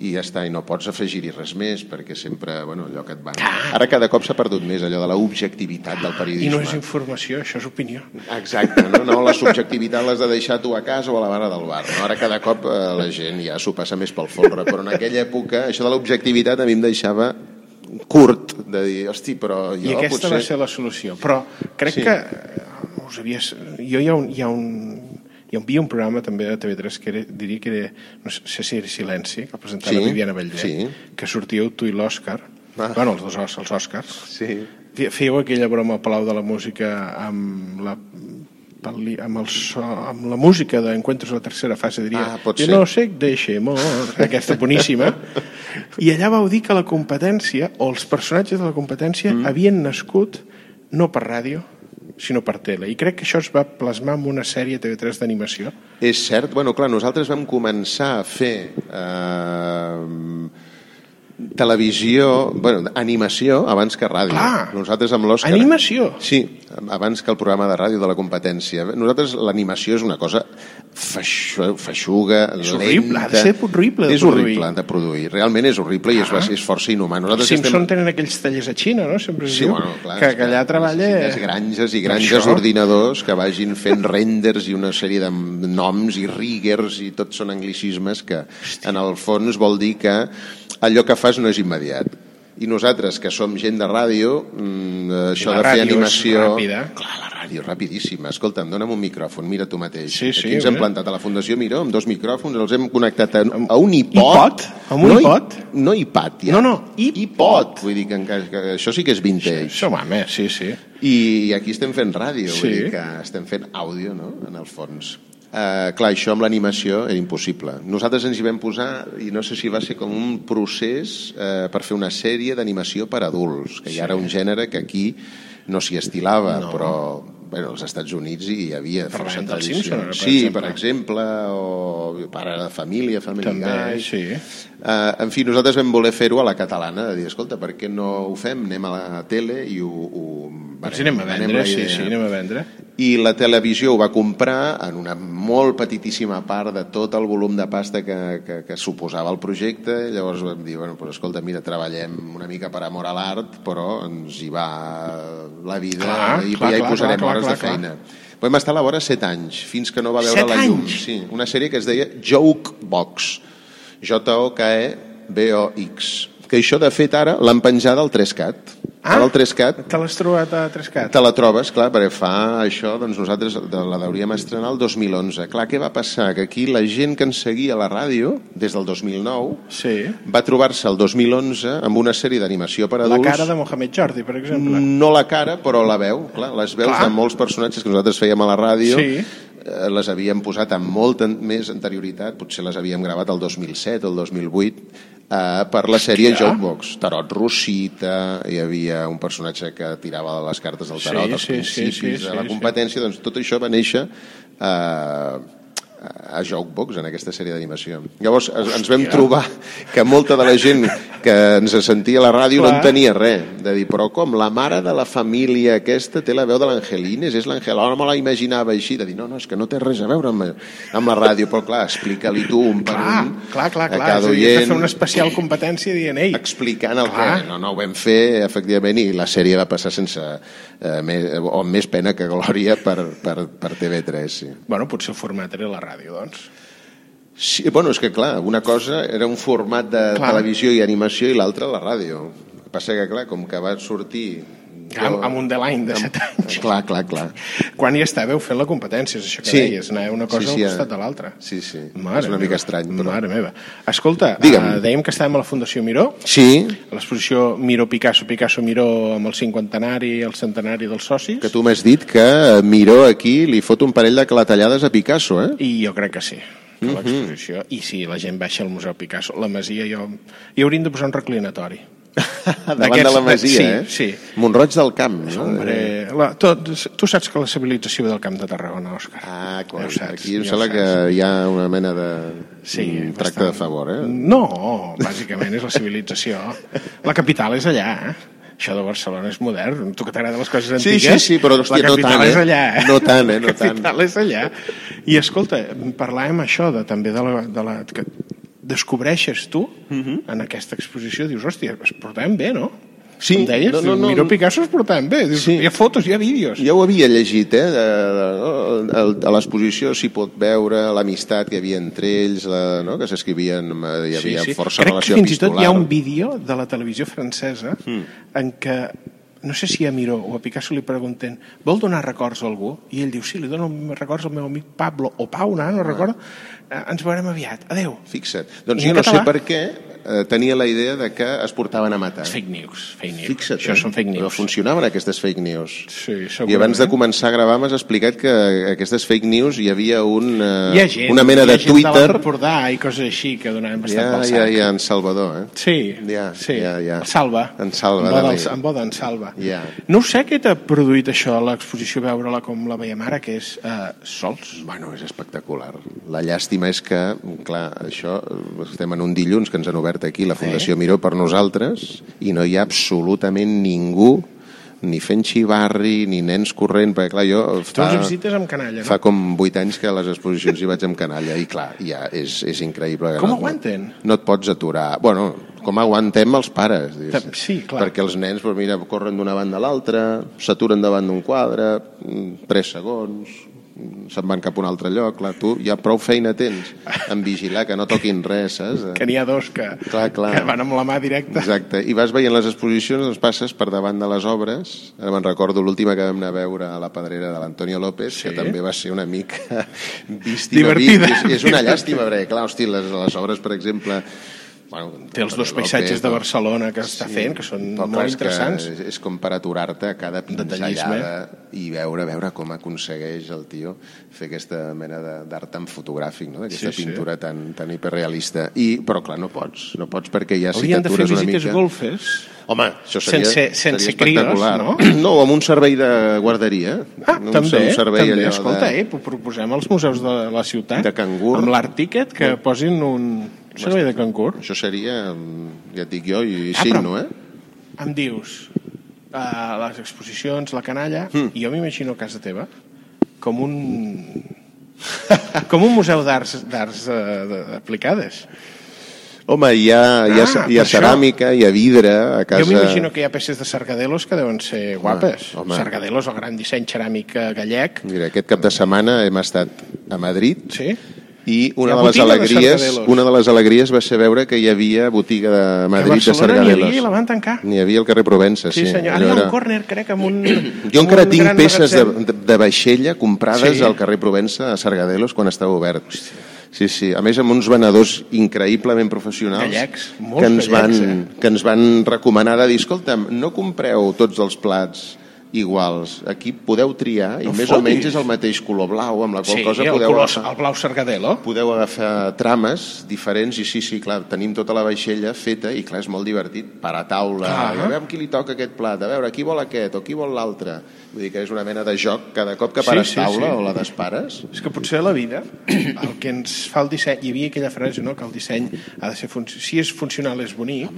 i ja està, i no pots afegir-hi res més, perquè sempre, bueno, allò que et van... Ara cada cop s'ha perdut més allò de l'objectivitat del I periodisme. no és informació, això és opinió. Exacte, no? no la subjectivitat l'has de deixar tu a casa o a la vara del bar. No? Ara cada cop eh, la gent ja s'ho passa més pel folre, però en aquella època això de l'objectivitat a mi em deixava curt, de dir, hosti, però jo I aquesta potser... va ser la solució. Però crec Sí. sí. que... eh, No ho sabia, jo hi ha un... Hi ha un hi havia un programa també de TV3 que era, diria que era, no sé si era Silenci, que presentava Sí, Viviana Bellver, sí. que sortíeu tu i l'Òscar, Ah. ah. bueno, els dos Os- els Òscars, Sí. Fe- Fèieu aquella broma al Palau de la Música amb la pel·li- amb, el so, amb la música d'Encuentros a la tercera fase, diria. Ah, pot "Yo ser. no sé, deixem aquesta boníssima. I allà vau dir que la competència, o els personatges de la competència, mm. havien nascut no per ràdio, sinó per tele. I crec que això es va plasmar en una sèrie TV3 d'animació. És cert, bueno, clar, nosaltres vam començar a fer eh, televisió, bueno, animació abans que ràdio. Clar. Nosaltres amb l'Òscar... Animació! Sí, abans que el programa de ràdio de la competència. Nosaltres l'animació és una cosa feixu- feixuga, És lenta... horrible, ha de ser horrible de És produir. Ah. horrible de produir, realment és horrible i és, va- és força inhumà. Els Nosaltres Simpson tenen aquells tallers a Xina, no? Sempre es Sí, diu bueno, clar, que, és que allà treballa... necessites granges i granges Això. d'ordinadors que vagin fent renders i una sèrie de noms i riggers i tot són anglicismes que en el fons vol dir que allò que fas no és immediat. I nosaltres, que som gent de ràdio, mm, això la de fer ràdio és animació... ràpida. Clar, la ràdio, rapidíssima. Escolta'm, dona'm un micròfon, mira tu mateix. Sí, sí, Aquí ens hem bé. plantat a la Fundació Miró amb dos micròfons, els hem connectat a, a un iPod. iPod? Amb un no, iPod? No iPad, ja. No, no, iPod. Vull dir que, encara, que això sí que és vintage. Som home, sí, sí. I aquí estem fent ràdio, sí. vull Sí. dir que estem fent àudio, no?, en el fons. Uh, clar, això amb l'animació era impossible. Nosaltres ens hi vam posar, i no sé si va ser com un procés uh, per fer una sèrie d'animació per adults, que sí. hi ha ara un gènere que aquí no s'hi estilava, no. però bueno, als Estats Units hi havia força Parlem dels tradició. Simpson, ara, per sí, exemple. per exemple, o Pare de Família, Family També, Guy, sí. Eh, en fi, nosaltres vam voler fer-ho a la catalana, de dir, escolta, per què no ho fem? Anem a la tele i ho... ho Ens anem a venem vendre, la sí, idea. sí, anem a vendre. I la televisió ho va comprar en una molt petitíssima part de tot el volum de pasta que, que, que suposava el projecte. Llavors vam dir, bueno, doncs escolta, mira, treballem una mica per amor a l'art, però ens hi va la vida Clar, i clar, ja hi clar, posarem clar, clar, hores clar, de clar. feina. Vam estar a la vora set anys, fins que no va veure Set la llum. anys? Sí, una sèrie que es deia Joke Box. E J-O-K-E-B-O-X. Que això, de fet, ara l'han penjada al 3CAT. Ah. Ara el 3CAT Te l'has trobat a Trescat? te la trobes, clar, perquè fa això, doncs nosaltres de- la hauríem estrenar el 2011. Clar, què va passar? Que aquí la gent que ens seguia a la ràdio, des del 2009, Sí. va trobar-se el 2011 amb una sèrie d'animació per La adults. Mm. cara de Mohamed Jordi, per exemple. No la cara, però la veu, clar, les veus Clar. de molts personatges que nosaltres fèiem a la ràdio, Sí. eh, les havíem posat amb molta més anterioritat, potser les havíem gravat el 2007 o el 2008, eh, per la sèrie Hòstia. Jokebox. Tarot Rosita, hi havia un personatge que tirava de les cartes del Sí, tarot, als sí, sí, principis sí, de la sí, competència, doncs tot això va néixer eh, a Jokebox, en aquesta sèrie d'animació. Llavors es- ens vam trobar que molta de la gent que ens sentia a la ràdio no Clar. entenia res, de dir, però com, la mare de la família aquesta té la veu de l'Angelines, és l'Angela, ara me la imaginava així, de dir, no, no, és que no té res a veure amb, amb la ràdio, però clar, explica-li tu un per Clar, un clar, clar, a clar. cada És a dir, has de oient fer una especial competència dient, ei, explicant el Clar. que no, no ho vam fer, efectivament, i la sèrie va passar sense, eh, més, o amb més pena que glòria per, per, per TV3, sí. bueno, potser el format era la ràdio, doncs. sí. Bueno, és que clar, una cosa era un format de Clar. clar. televisió i animació i l'altra la ràdio. El que passa que clar, com que va sortir Amb, amb un deadline de 7 anys. Clar, clar, clar. Quan hi estàveu fent la competència, és això que Sí. deies, anar una cosa Sí, sí, sí, sí, al eh. costat de l'altra. Sí, sí. Mare és una mica meva. estrany, però... Mare meva. Escolta, Digue'm. eh, dèiem que estàvem a la Fundació Miró, Sí, a l'exposició Miró Picasso, Picasso Miró amb el cinquantenari, el centenari dels socis, que tu m'has dit que eh, Miró aquí li fot un parell de clatellades a Picasso, eh? i jo crec que sí que Mhm. l'exposició, i si la gent baixa al Museu Picasso, la Masia jo... hi hauríem de posar un reclinatori Eh. Davant de la masia, sí, eh? sí. Montroig del Camp, no? Hombre, la, tot, tu saps que la civilització ve del Camp de Tarragona, Òscar Ah, Ja ho coi, saps, aquí em ja ho sembla saps. que hi ha una mena de Sí, mm, tracte bastant. de favor, eh? No, bàsicament és la civilització. La capital és allà, eh? Això de Barcelona és modern. Tu que t'agraden les coses Sí, antigues... sí, sí, però, hòstia, la no capital tant, eh? és allà, eh? No tant, eh? No la capital és allà. I escolta, parlàvem això de, també de la, de la, que descobreixes tu Mhm. en aquesta exposició, dius, hòstia, es portaven bé, no? Sí, Em deies, no, no, dius, no. Miró Picasso es portaven bé. Dius, Sí. Hi ha fotos, hi ha vídeos. Jo ho havia llegit, eh? De, de, no? El- a l'exposició s'hi pot veure l'amistat que hi havia entre ells, la, no? que s'escrivien, eh, hi havia força Crec relació que fins i tot epistolar. hi ha un vídeo de la televisió francesa en què no sé si a Miró o a Picasso li pregunten vol donar records a algú? I ell diu, sí, li dono records al meu amic Pablo o Pau, no, no recordo. Eh, ens veurem aviat. Adeu. Fixa't. Doncs I en jo no sé català? per què eh, tenia la idea de que es portaven a matar. Fake news. Fake news. Fixa't, Això eh? són fake Però news. funcionaven aquestes fake news. Sí, I abans de segurament. començar a gravar m'has explicat que aquestes fake news hi havia un, eh, Hi ha gent, una mena hi ha de gent Twitter. de l'Empordà i coses així que donaven bastant Ja, pel sac. ja, ja, en Salvador, eh? Sí, Ja, sí. ja, ja. En Salva. En Salva, En boda, Dalí. en, en, boda, en Salva. Ja. No ho sé què t'ha produït això a l'exposició, veure-la com la veiem ara, que és eh, Sols. Bueno, és espectacular. La llàstima és que, clar, això, eh, estem en un dilluns que ens han obert aquí la Fundació Miró per nosaltres i no hi ha absolutament ningú ni fent xivarri, ni nens corrent, perquè clar, jo Tu ens fa, visites amb canalla, no? Ah, fa com 8 anys que a les exposicions hi vaig amb canalla i clar, ja és, és increïble. Com No- aguanten? No et pots aturar. Bueno, com aguantem els pares, diguéssim. Sí, clar. Perquè els nens, doncs mira, corren d'una banda a l'altra, s'aturen davant d'un quadre, 3 segons, mm, se'n van cap a un altre lloc, clar, tu ja prou feina tens en vigilar que no toquin res, saps? Que n'hi ha dos que, Clar, clar. que van amb la mà directa. Exacte, i vas veient les exposicions, doncs passes per davant de les obres, ara me'n recordo l'última que vam anar a veure a la pedrera de l'Antonio López, sí. que també va ser una mica vístima, Divertida. És, és una llàstima, perquè clar, hosti, les, les obres, per exemple... Bueno, Té els dos López, paisatges de no? Barcelona que està fent, que són Però clar, molt és que interessants. És, és com per aturar-te a cada pinzellada Detallisme. i veure veure com aconsegueix el tio fer aquesta mena de- d'art tan fotogràfic, no? aquesta Sí, sí. pintura tan, tan hiperrealista. I, però clar, no pots, no pots perquè ja si Haurien de fer t'atures una visites mica... golfes. Home, això seria, Sense- sense seria crios, espectacular. no? No, o amb un servei de guarderia. Ah, Un- també, un servei també. allò Escolta, de... eh, pro- proposem als museus de la ciutat De cangur. amb l'art ticket que posin un servei de cangur. Això seria, mm, ja et dic jo, i Ah, signo, però- eh? em dius uh, les exposicions, la canalla, Hmm. i jo m'imagino casa teva com un com un museu d'arts d'arts uh, aplicades. Home, hi ha, hi ha, Ah, hi per ha això. ceràmica, hi ha vidre a casa... Jo m'imagino que hi ha peces de Sargadelos que deuen ser guapes. home. Sargadelos, el gran disseny ceràmic eh, gallec. Mira, aquest cap de setmana hem estat a Madrid Sí? i una Hi ha de les botiga de alegries, sardadelos. una de les alegries va ser veure que hi havia botiga de a Madrid de Barcelona n'hi sardadelos. havia i la van tancar. N'hi havia al carrer Provença, sí. Sí, senyor. Allò Ara hi ha era- un córner, crec, amb un... Jo encara amb un tinc gran peces de, magatzem. de, de vaixella comprades Sí. al carrer Provença a Sargadelos quan estava obert. Sí, sí. A més, amb uns venedors increïblement professionals Gallecs, molts eh? que ens, van, gallecs, que ens van recomanar de dir, escolta'm, no compreu tots els plats iguals. Aquí podeu triar i No més o fotis. menys és el mateix color blau, amb la qual Sí, cosa el, podeu color, agafar el blau Sargadelo. podeu agafar trames diferents i sí, sí, clar, tenim tota la vaixella feta i clar, és molt divertit per a taula Clar. i a veure amb qui li toca aquest plat a veure qui vol aquest o qui vol l'altre vull dir que és una mena de joc cada cop que Sí, pares sí, taula sí. o la despares És que potser a la vida el que ens fa el disseny... Hi havia aquella frase, no?, que el disseny ha de ser... func- Si és funcional és bonic,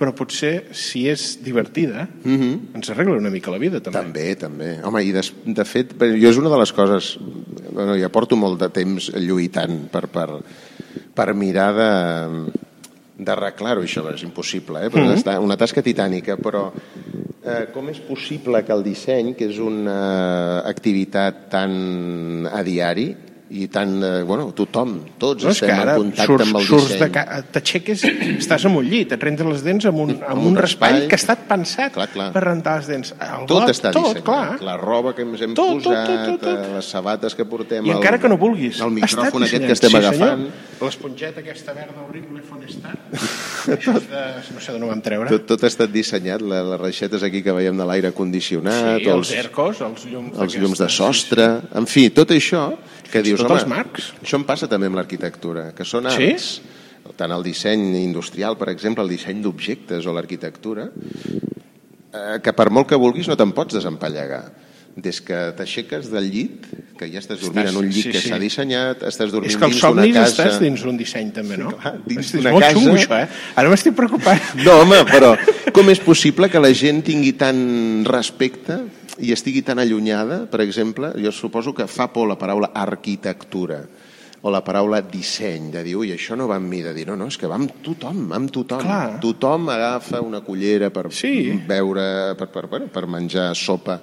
però potser si és divertida ens arregla una mica la vida, també. Mhm. També, també. Home, i de, de fet, bé, jo és una de les coses... Bueno, ja porto molt de temps lluitant per, per, per mirar de d'arreglar-ho, això és impossible, eh? però Mm-hmm. mm -hmm. una tasca titànica, però eh, com és possible que el disseny, que és una activitat tan eh, a diari, i tant, eh, bueno, tothom, tots No, és que estem en ara contacte surts, amb el surts disseny. de ca... t'aixeques, estàs amb un llit, et rentes les dents amb un, amb, Amb un, un raspall, raspall. que ha estat pensat Clar, clar. per rentar les dents. El Tot got, està tot, dissenyat. clar. La roba que ens hem Tot, tot, posat, tot, tot, tot. eh, les sabates que portem... I encara que no vulguis. El ha estat micròfon aquest dissenyat. que estem sí, agafant. Senyor. L'esponjeta aquesta verda horrible fon estar. Això és de... No sé d'on ho vam treure. Tot, tot ha estat dissenyat, la- les reixetes aquí que veiem de l'aire condicionat, sí, els els, ercos, els llums, ah, els llums de d'aquestes. sostre, en fi, tot això que dius, tot home, els marcs." això em passa també amb l'arquitectura, que són Sí? arts, tant el disseny industrial, per exemple, el disseny d'objectes o l'arquitectura, eh, que per molt que vulguis no te'n pots desempallegar. Des que t'aixeques del llit, que ja estàs dormint Estàs- en un llit sí, que sí. s'ha dissenyat, estàs dormint És que els dins d'una somnis casa... estàs dins d'un disseny també, no? clar, dins Hosti, és d'una molt casa. xungo, això, eh? Ara m'estic preocupant. No, home, però com és possible que la gent tingui tant respecte i estigui tan allunyada, per exemple, jo suposo que fa por la paraula arquitectura o la paraula disseny, de dir, ui, això no va amb mi, de dir, no, no, és que va amb tothom, va amb tothom. Clar. Tothom agafa una cullera per Sí. beure, per, per, bueno, per menjar sopa,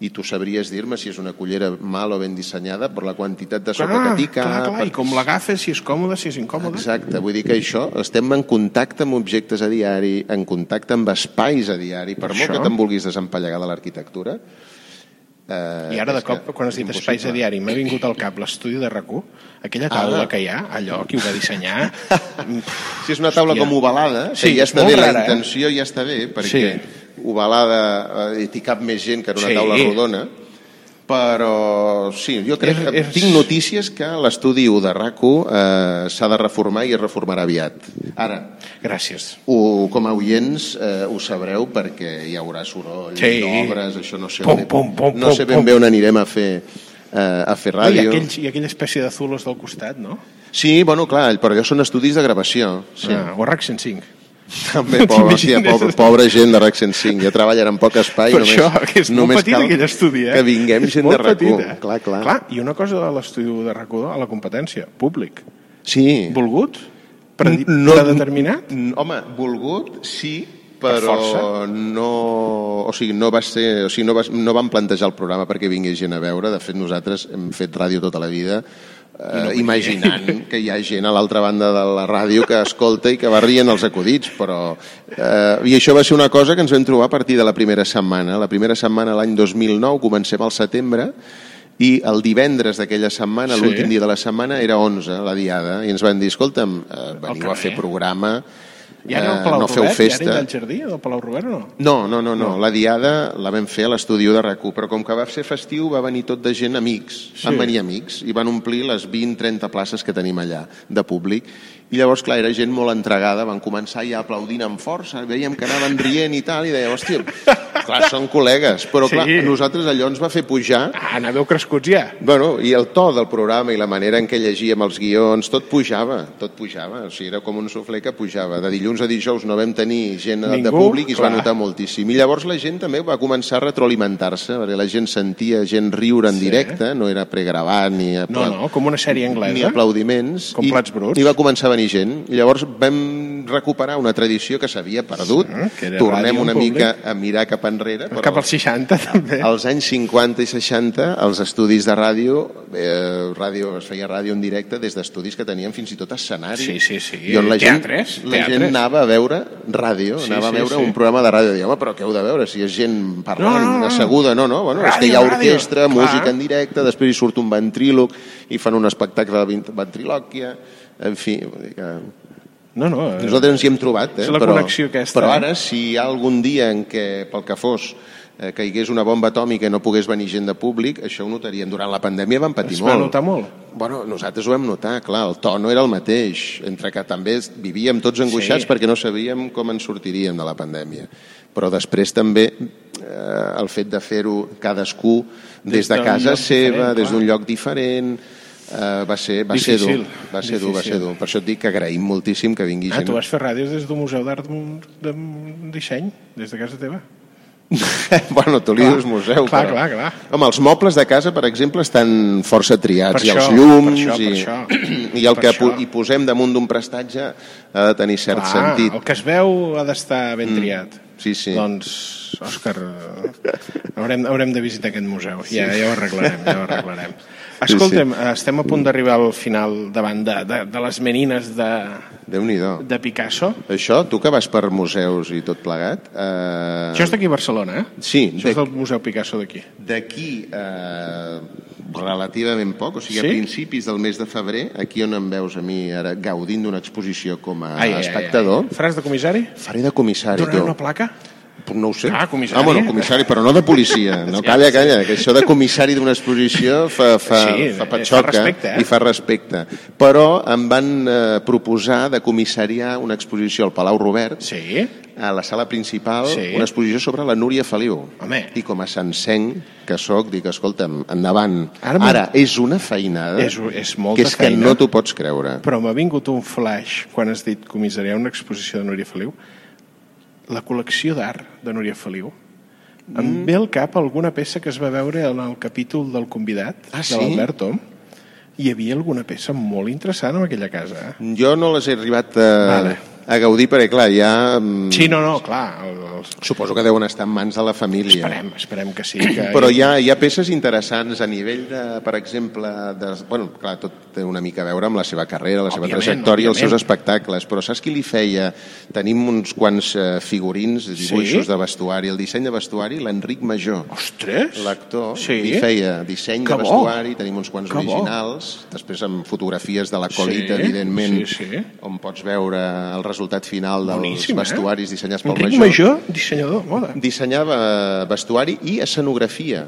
i tu sabries dir-me si és una cullera mal o ben dissenyada per la quantitat de sopa que t'hi cap. Ah, clar, clar, i perquè com l'agafes, si és còmode, si és incòmode. Exacte, vull dir que això, estem en contacte amb objectes a diari, en contacte amb espais a diari, per molt Això. que te'n vulguis desempallegar de l'arquitectura. Eh, I ara de és cop, que quan has dit impossible. espais a diari, m'ha vingut al cap l'estudi de RAC1, aquella taula Ah. que hi ha, allò, qui ho va dissenyar... mm, Si és una taula Hòstia. com ovalada, sí, Sí, que ja està bé, molt rara, rara, la eh? intenció ja està bé, perquè sí. ovalada eh, hi cap més gent que en una Sí. sí. taula rodona, però sí, jo crec És- que és- tinc notícies que l'estudi 1 de RAC1 eh, s'ha de reformar i es reformarà aviat. Ara, Gràcies. Ho, com a oients eh, ho sabreu perquè hi haurà soroll, Sí. sí. obres, això no sé, Pum, on- pum, pum, no sé pum, ben pum. bé on anirem a fer, eh, a fer No, I, ràdio. aquells, I aquella espècie de zulos del costat, no? Sí, bueno, clar, però allò són estudis de gravació. Sí. Ah, o RAC 105. També, pobra, hòstia, pobra, pobra gent de RAC 105, ja treballen en poc espai. Per només, això, que és molt només petit cal aquell estudi, eh? Que vinguem És gent molt de rac petit, eh? Clar, clar. clar. I una cosa de l'estudi de RAC1 a la competència, públic. Sí. Volgut? Predi- No- Predeterminat? Mm, Home, volgut, sí, força? però no, o sigui, no, va ser, o sigui, no, va, no vam plantejar el programa perquè vingués gent a veure. De fet, nosaltres hem fet ràdio tota la vida eh, imaginant que hi ha gent a l'altra banda de la ràdio que escolta i que va rient els acudits, però... Eh, I això va ser una cosa que ens vam trobar a partir de la primera setmana. La primera setmana, l'any 2009, comencem al setembre, i el divendres d'aquella setmana, Sí. l'últim dia de la setmana, era 11, la diada, i ens van dir, escolta'm, eh, veniu a fer carrer. programa, Oh, I ara al eh, Palau no feu Robert? I festa... ara al jardí del Palau Robert o no? No, no, no, no, la diada la vam fer a l'estudi de rac però com que va ser festiu va venir tot de gent amics, sí. van venir amics i van omplir les 20-30 places que tenim allà de públic i llavors, clar, era gent molt entregada, van començar ja aplaudint amb força, veiem que anaven rient i tal, i deia, hòstia, clar, són col·legues, però clar, Sí. a nosaltres allò ens va fer pujar Ah, anàveu crescuts ja. Bueno, i el to del programa i la manera en què llegíem els guions, tot pujava, tot pujava. O sigui, era com un suflé que pujava. De dilluns a dijous no vam tenir gent Ningú, de Ningú, públic i es va clar. notar moltíssim. I llavors la gent també va començar a retroalimentar-se, perquè la gent sentia gent riure en directe, no era pregravat ni... No, apla- no, com una sèrie anglesa. ni aplaudiments. Com plats bruts. I va començar a venir gent. Llavors vam recuperar una tradició que s'havia perdut. Sí, que era Tornem ràdio en una mica a mirar cap enrere. Cap als 60, també. Als anys 50 i 60, els estudis de ràdio, eh, ràdio es feia ràdio en directe des d'estudis que tenien fins i tot escenari. Sí, sí, sí. I on la Teatres, gent, la teatres. gent anava a veure ràdio, Sí, anava sí, a veure sí. un programa de ràdio. Diu, home, però què heu de veure? Si és gent parlant, No, no, no. asseguda, no, no. Bueno, és que hi ha Ràdio, ràdio. orquestra, Clar. música en directe, després hi surt un ventríloc i fan un espectacle de vint- ventriloquia. En fi, vull dir que No, no, eh, nosaltres ens hi hem trobat, eh? És la connexió aquesta, Però eh? ara, si hi ha algun dia en què, pel que fos, eh, caigués una bomba atòmica i no pogués venir gent de públic, això ho notaríem. Durant la pandèmia vam patir es molt. va notar molt. Bueno, nosaltres ho vam notar, clar, el to no era el mateix, entre que també vivíem tots angoixats Sí. sí. perquè no sabíem com ens sortiríem de la pandèmia. Però després també eh, el fet de fer-ho cadascú des, d'un de casa lloc seva, diferent, des d'un clar. lloc diferent, eh, va ser, va ser dur, Difícil, va ser dur, va difícil. ser dur. Per això et dic que agraïm moltíssim que vingui Ah, gent. tu vas fer ràdios des d'un museu d'art d'un- d'un disseny, des de casa teva? bueno, tu li Clar. dius museu. Clar, però... clar, clar. Home, els mobles de casa, per exemple, estan força triats. Per I els això, llums per i, això, per això. i el Per que po- això. hi posem damunt d'un prestatge ha de tenir cert Clar, sentit. Ah, Mm, el que es veu ha d'estar ben triat. sí, sí. Doncs, Òscar, eh, haurem, haurem de visitar aquest museu. Ja, ja ho arreglarem, ja ho arreglarem. Escolta'm, sí, sí. estem a punt d'arribar al final davant de, de, de les menines de, Déu-n'hi-do. de Picasso. Això, tu que vas per museus i tot plegat... Eh... Això és d'aquí a Barcelona, eh? Sí, Això de- és del Museu Picasso d'aquí. d'aquí eh, relativament poc, o sigui, sí? Sí? a principis del mes de febrer, aquí on em veus a mi ara gaudint d'una exposició com a ai, Ai, Ah, espectador, ai. Faràs de comissari? faré de comissari. Donaran tu. una placa? No ho sé. Ah, comissari. Ah, bueno, comissari, però no de policia. No, calla, calla, que això de comissari d'una exposició fa, fa, Sí, fa eh, patxoca fa respecte, eh? i fa respecte. Però em van eh, proposar de comissariar una exposició al Palau Robert, Sí. a la sala principal, Sí. sí. una exposició sobre la Núria Feliu. Home. I com a sencenc que sóc, dic, escolta'm, endavant. Ara Ara, m'ho- Ara és una feinada És- és molta que és que feina. no t'ho pots creure. Però m'ha vingut un flash quan has dit comissariar una exposició de Núria Feliu. La col·lecció d'art de Núria Feliu. Mm. Em ve al cap alguna peça que es va veure en el capítol del convidat, Ah, de sí? l'Albert Tom. Hi havia alguna peça molt interessant en aquella casa. eh? Jo no les he arribat a, Vale. vale. a gaudir perquè, clar, ja... mm, Sí, no, no, clar. el- Els... Suposo que deuen estar en mans de la família. Esperem, esperem que sí. Que Però hi ha, hi ha peces interessants a nivell de, per exemple, de, bueno, clar, tot té una mica a veure amb la seva carrera, la seva Òbviament, trajectòria, els òbviament. seus espectacles, però saps qui li feia? Tenim uns quants eh, figurins, dibuixos Sí? de vestuari, el disseny de vestuari, l'Enric Major. Ostres! L'actor sí. li feia disseny Que de bo. vestuari, tenim uns quants Que bo. originals, després amb fotografies de la colita, Sí, evidentment, sí, sí. on pots veure el resultat final dels Boníssim, eh? vestuaris dissenyats pel Enric Major, dissenyador de moda. dissenyava eh, vestuari i escenografia.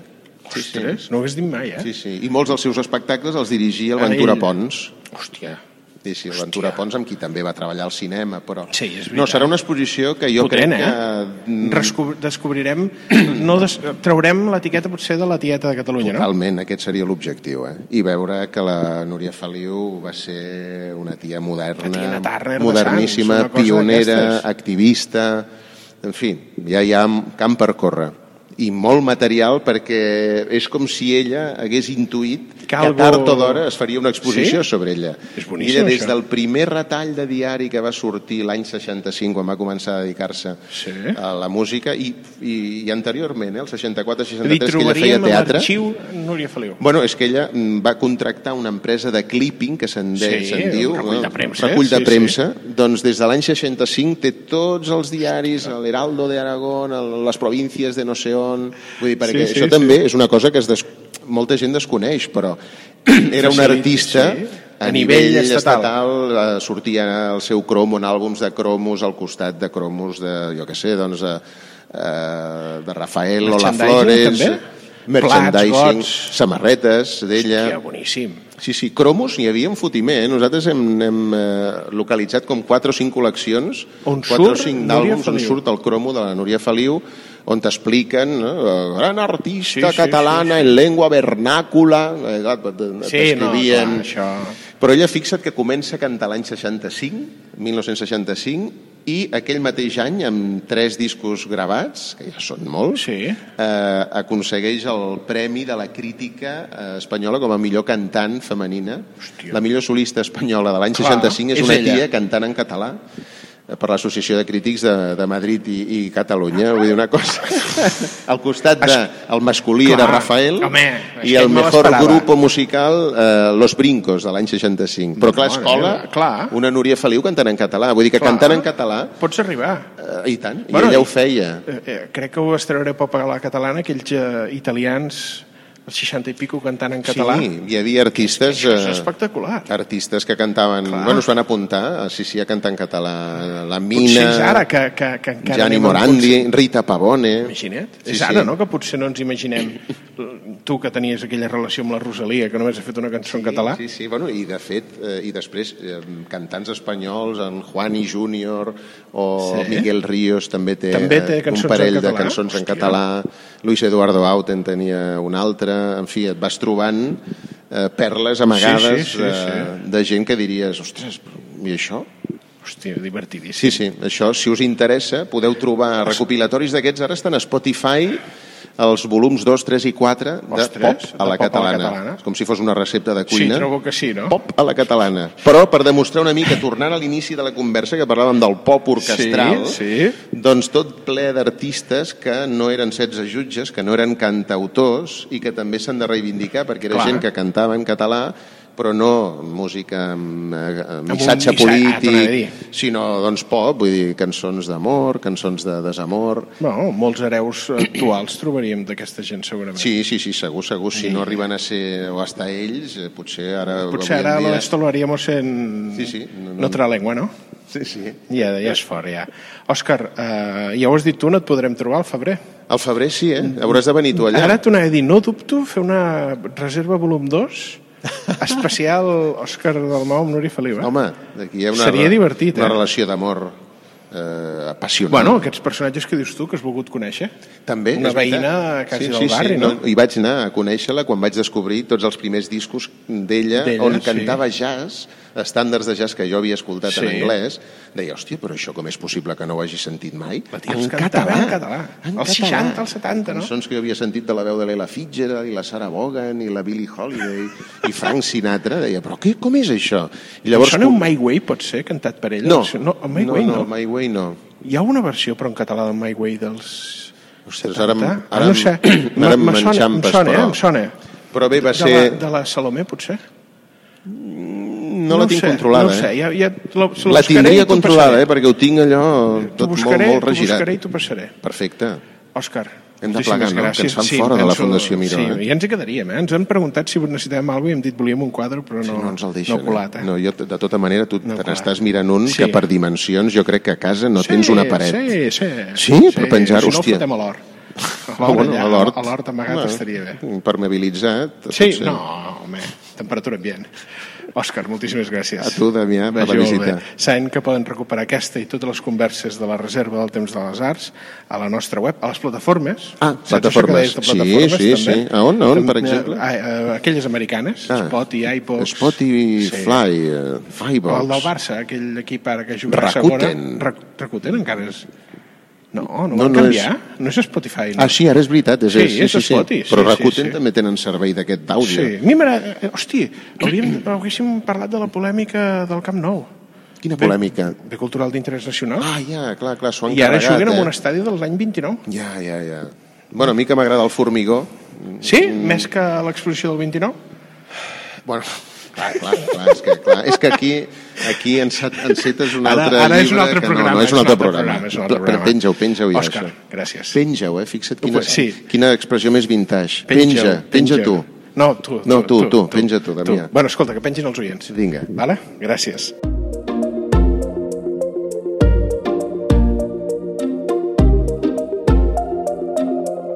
Ostres, no ho hagués dit mai, eh? Sí, sí. I molts dels seus espectacles els dirigia el Ah, Ventura ell. Pons. Hòstia. Sí, sí, el Ventura Pons, amb qui també va treballar al cinema, però... Sí, és veritat. no, serà una exposició que jo Potent, crec que... eh? Rescobr descobrirem... No des traurem l'etiqueta potser de la tieta de Catalunya, no? Totalment, aquest seria l'objectiu, eh? I veure que la Núria Feliu va ser una tia moderna, Una tia Turner de moderníssima, Sants, una cosa pionera, d'aquestes. activista... En fi, ja hi ha camp per córrer. I molt material perquè és com si ella hagués intuït Que que, algo- tard o d'hora es faria una exposició Sí? sobre ella. És I boníssim, ella, des això. del primer retall de diari que va sortir l'any 65, quan va començar a dedicar-se Sí. a la música, i, i, i anteriorment, eh, el 64-63, Li que ella feia trobaríem a teatre... l'arxiu Núria Feliu. Bueno, és que ella mm, va contractar una empresa de clipping, que se'n de- Sí, se'n un diu, recull de no? premsa, recull de sí, premsa. doncs des de l'any 65 té tots els diaris, l'Heraldo de Aragón, el- les províncies de no sé on, vull dir, perquè Sí, sí, això sí. també és una cosa que es des... molta gent desconeix, però era un Sí, artista sí. a nivell estatal. estatal, eh, sortia el seu cromo en àlbums de cromos al costat de cromos de, jo què sé, doncs, de, eh, de Rafael o la Merchandising, Flores, també? Plats, merchandising, gots. samarretes Hòstia, d'ella... boníssim. Sí, sí, cromos n'hi havia un fotimer. Eh? Nosaltres hem, hem eh, localitzat com 4 o 5 col·leccions, On 4 o surt 5 Núria d'àlbums on Feliu. surt el cromo de la Núria Feliu, on t'expliquen, no? Eh, gran Sí, artista sí, sí, catalana sí, sí. en llengua vernàcula, eh, Sí, no, t'escrivien... clar, això... Però ella fixa't que comença a cantar l'any 65, 1965, i aquell mateix any, amb tres discos gravats, que ja són molts, Sí. eh, aconsegueix el Premi de la Crítica eh, Espanyola com a millor cantant femenina. Hòstia. La millor solista espanyola de l'any Clar, 65 és, és una ella. tia cantant en català eh, per l'Associació de Crítics de, de Madrid i, i Catalunya, vull dir una cosa. Al costat de, el masculí Clar, era Rafael home, i aquest el me mejor l'esperava. grup grupo musical eh, Los Brincos de l'any 65. Però clar, Mare escola, meva, clar. una Núria Feliu cantant en català. Vull dir que Clar. cantant en català, Pots arribar. eh, i tant, i Bueno, i- ella ho feia. Eh, eh, crec que ho estreuré per pagar la catalana, aquells eh, italians, els 60 i pico cantant en català. Sí, eh, hi havia artistes... Això és eh, espectacular. artistes que cantaven, Clar. bueno, es van apuntar, eh, sí, sí, a cantar en català, la Mina, Potser és ara que, que, que encara... Gianni anem amb Morandi, Rita Pavone... Imagina't. Sí, Sí, és ara, sí. no?, que potser no ens imaginem tu que tenies aquella relació amb la Rosalia, que només ha fet una cançó en català. Sí, sí, bueno, i de fet, eh, i després eh, cantants espanyols, en Juani Júnior o Sí. sí. Miguel Ríos també té, També té eh, cançons un en parell de català? cançons en Hòstia. català, Luis Eduardo Auten tenia un altre, en fi, et vas trobant eh, perles amagades Sí, sí, sí, de, de gent que diries, ostres, però i això? Hòstia, divertidíssim. Sí, sí, això, si us interessa, podeu trobar recopilatoris d'aquests, ara estan a Spotify, els volums 2, 3 i 4 de Ostres, pop de a la Pop a la catalana. Catalana. És com si fos una recepta de cuina. Sí, trobo que sí, no? Pop a la catalana. Però per demostrar una mica, tornant a l'inici de la conversa, que parlàvem del pop orquestral, Sí, sí. doncs tot ple d'artistes que no eren 16 jutges, que no eren cantautors i que també s'han de reivindicar perquè era Clar. gent que cantava en català però no música amb, eh, amb un missatge missatge, t'anava a dir. polític, sinó doncs pop, vull dir, cançons d'amor, cançons de desamor... Bueno, molts hereus actuals trobaríem d'aquesta gent segurament. Sí, sí, sí, segur, segur. Si no arriben a ser o estar ells, eh, potser ara... Potser avui en ara dia- lo esto en Sí, sí, no, no. otra lengua, no? Sí, sí. Ja, ja és fort, ja. Òscar, eh, ja ho has dit tu, no et podrem trobar al febrer. Al febrer sí, eh? Hauràs de venir tu allà. Ara t'ho anava a dir, no dubto fer una reserva volum 2 especial Òscar Dalmau amb Nuri Feliu, eh? Home, aquí hi ha una, Seria divertit, una eh? relació d'amor eh, apassionant. Bueno, aquests personatges que dius tu, que has volgut conèixer. També, una és veritat. veïna quasi sí, del sí, barri, sí, no? I vaig anar a conèixer-la quan vaig descobrir tots els primers discos d'ella, D'ella, on sí. cantava jazz, estàndards de jazz que jo havia escoltat en Sí. anglès. Deia, hòstia, però això com és possible que no ho hagi sentit mai? La tia els cantava en català. Als 60, als 70, no? Cançons que jo havia sentit de la veu de l'Ella Fitzgerald i la Sarah Vaughan i la Billie Holiday i Frank Sinatra. Deia, però què, com és això? I Llavors, Sona com- un My Way, pot ser, cantat per ella? No, no el My Way no. no, My Way no. Hi ha una versió, però en català, del My Way dels... Ostres, ara, em- 70? ara, no sé. em- ara Me- me sona- m'enxampes, em sona, però... eh? Em sona. Però bé, va de, ser... la, de la Salomé, potser? No, la ho tinc sé, controlada, no ho sé, eh? ja, ja la, La tindria controlada, eh? Perquè ho tinc allò T'ho tot molt, buscaré, molt t'ho buscaré i regirat. t'ho passaré. Perfecte. Òscar, Hem de moltíssimes plegar, no? Que ens gràcies. fan fora de la Fundació Miró, Sí, eh? i ens hi quedaríem, eh? Ens han preguntat si necessitàvem alguna cosa i hem dit volíem un quadre, però no, No, no ens el deixen. no colat, eh? No, jo, de tota manera, tu No te colat. n'estàs mirant un Sí. que per dimensions jo crec que a casa no tens una paret. Sí, sí. Sí? Per penjar, si hòstia. Si no, fotem a l'hort. Ah, bueno, allà, a l'hort. A l'hort amagat Bueno, estaria bé. Impermeabilitzat. Sí, potser. no, home, temperatura ambient. Òscar, moltíssimes gràcies. A tu, Damià, per la Vagi molt visita. bé. Saben que poden recuperar aquesta i totes les converses de la Reserva del Temps de les Arts a la nostra web, a les plataformes. Ah, Saps això que plataformes. deies de Sí, plataformes, sí, també? sí. A on, a on, per També, exemple? A, a, aquelles americanes, Ah. ah, Spotify, iPods... Spotify, Fly, eh, O el del Firebox. Barça, aquell equip ara que juga a Rakuten. segona. Rac- Rakuten encara és... No, No, no, no van no canviar. No és Spotify. No. Ah, sí, ara és veritat. És, Sí, és, és Spotify, sí, Però sí, Rakuten sí. també tenen servei d'aquest d'àudio. Sí, a mi m'agrada... eh, Hosti, hauríem, hauríéssim parlat de la polèmica del Camp Nou. Quina polèmica. Bé cultural d'interès nacional. Ah, ja, clar, clar, s'ho han I ara carregat, juguen en eh? un estadi de l'any 29. Ja, ja, ja. Bueno, a mi que m'agrada el formigó... Sí? Mm. Més que l'exposició del 29? Bueno, clar, clar, clar, és que, clar, és que aquí, aquí encet, encetes un Ara- altre ara és un llibre... altre que programa, No, no, és un altre programa. és un altre programa. Penja-ho, penja-ho ja, Òscar, això. gràcies. Penja-ho, eh? Fixa't quina, Sí. quina expressió més vintage. Penja, penja, tu. No, tu. No, tu, tu, penja tu, Damià. Bueno, escolta, que pengin els oients. Vinga. Vale? Gràcies.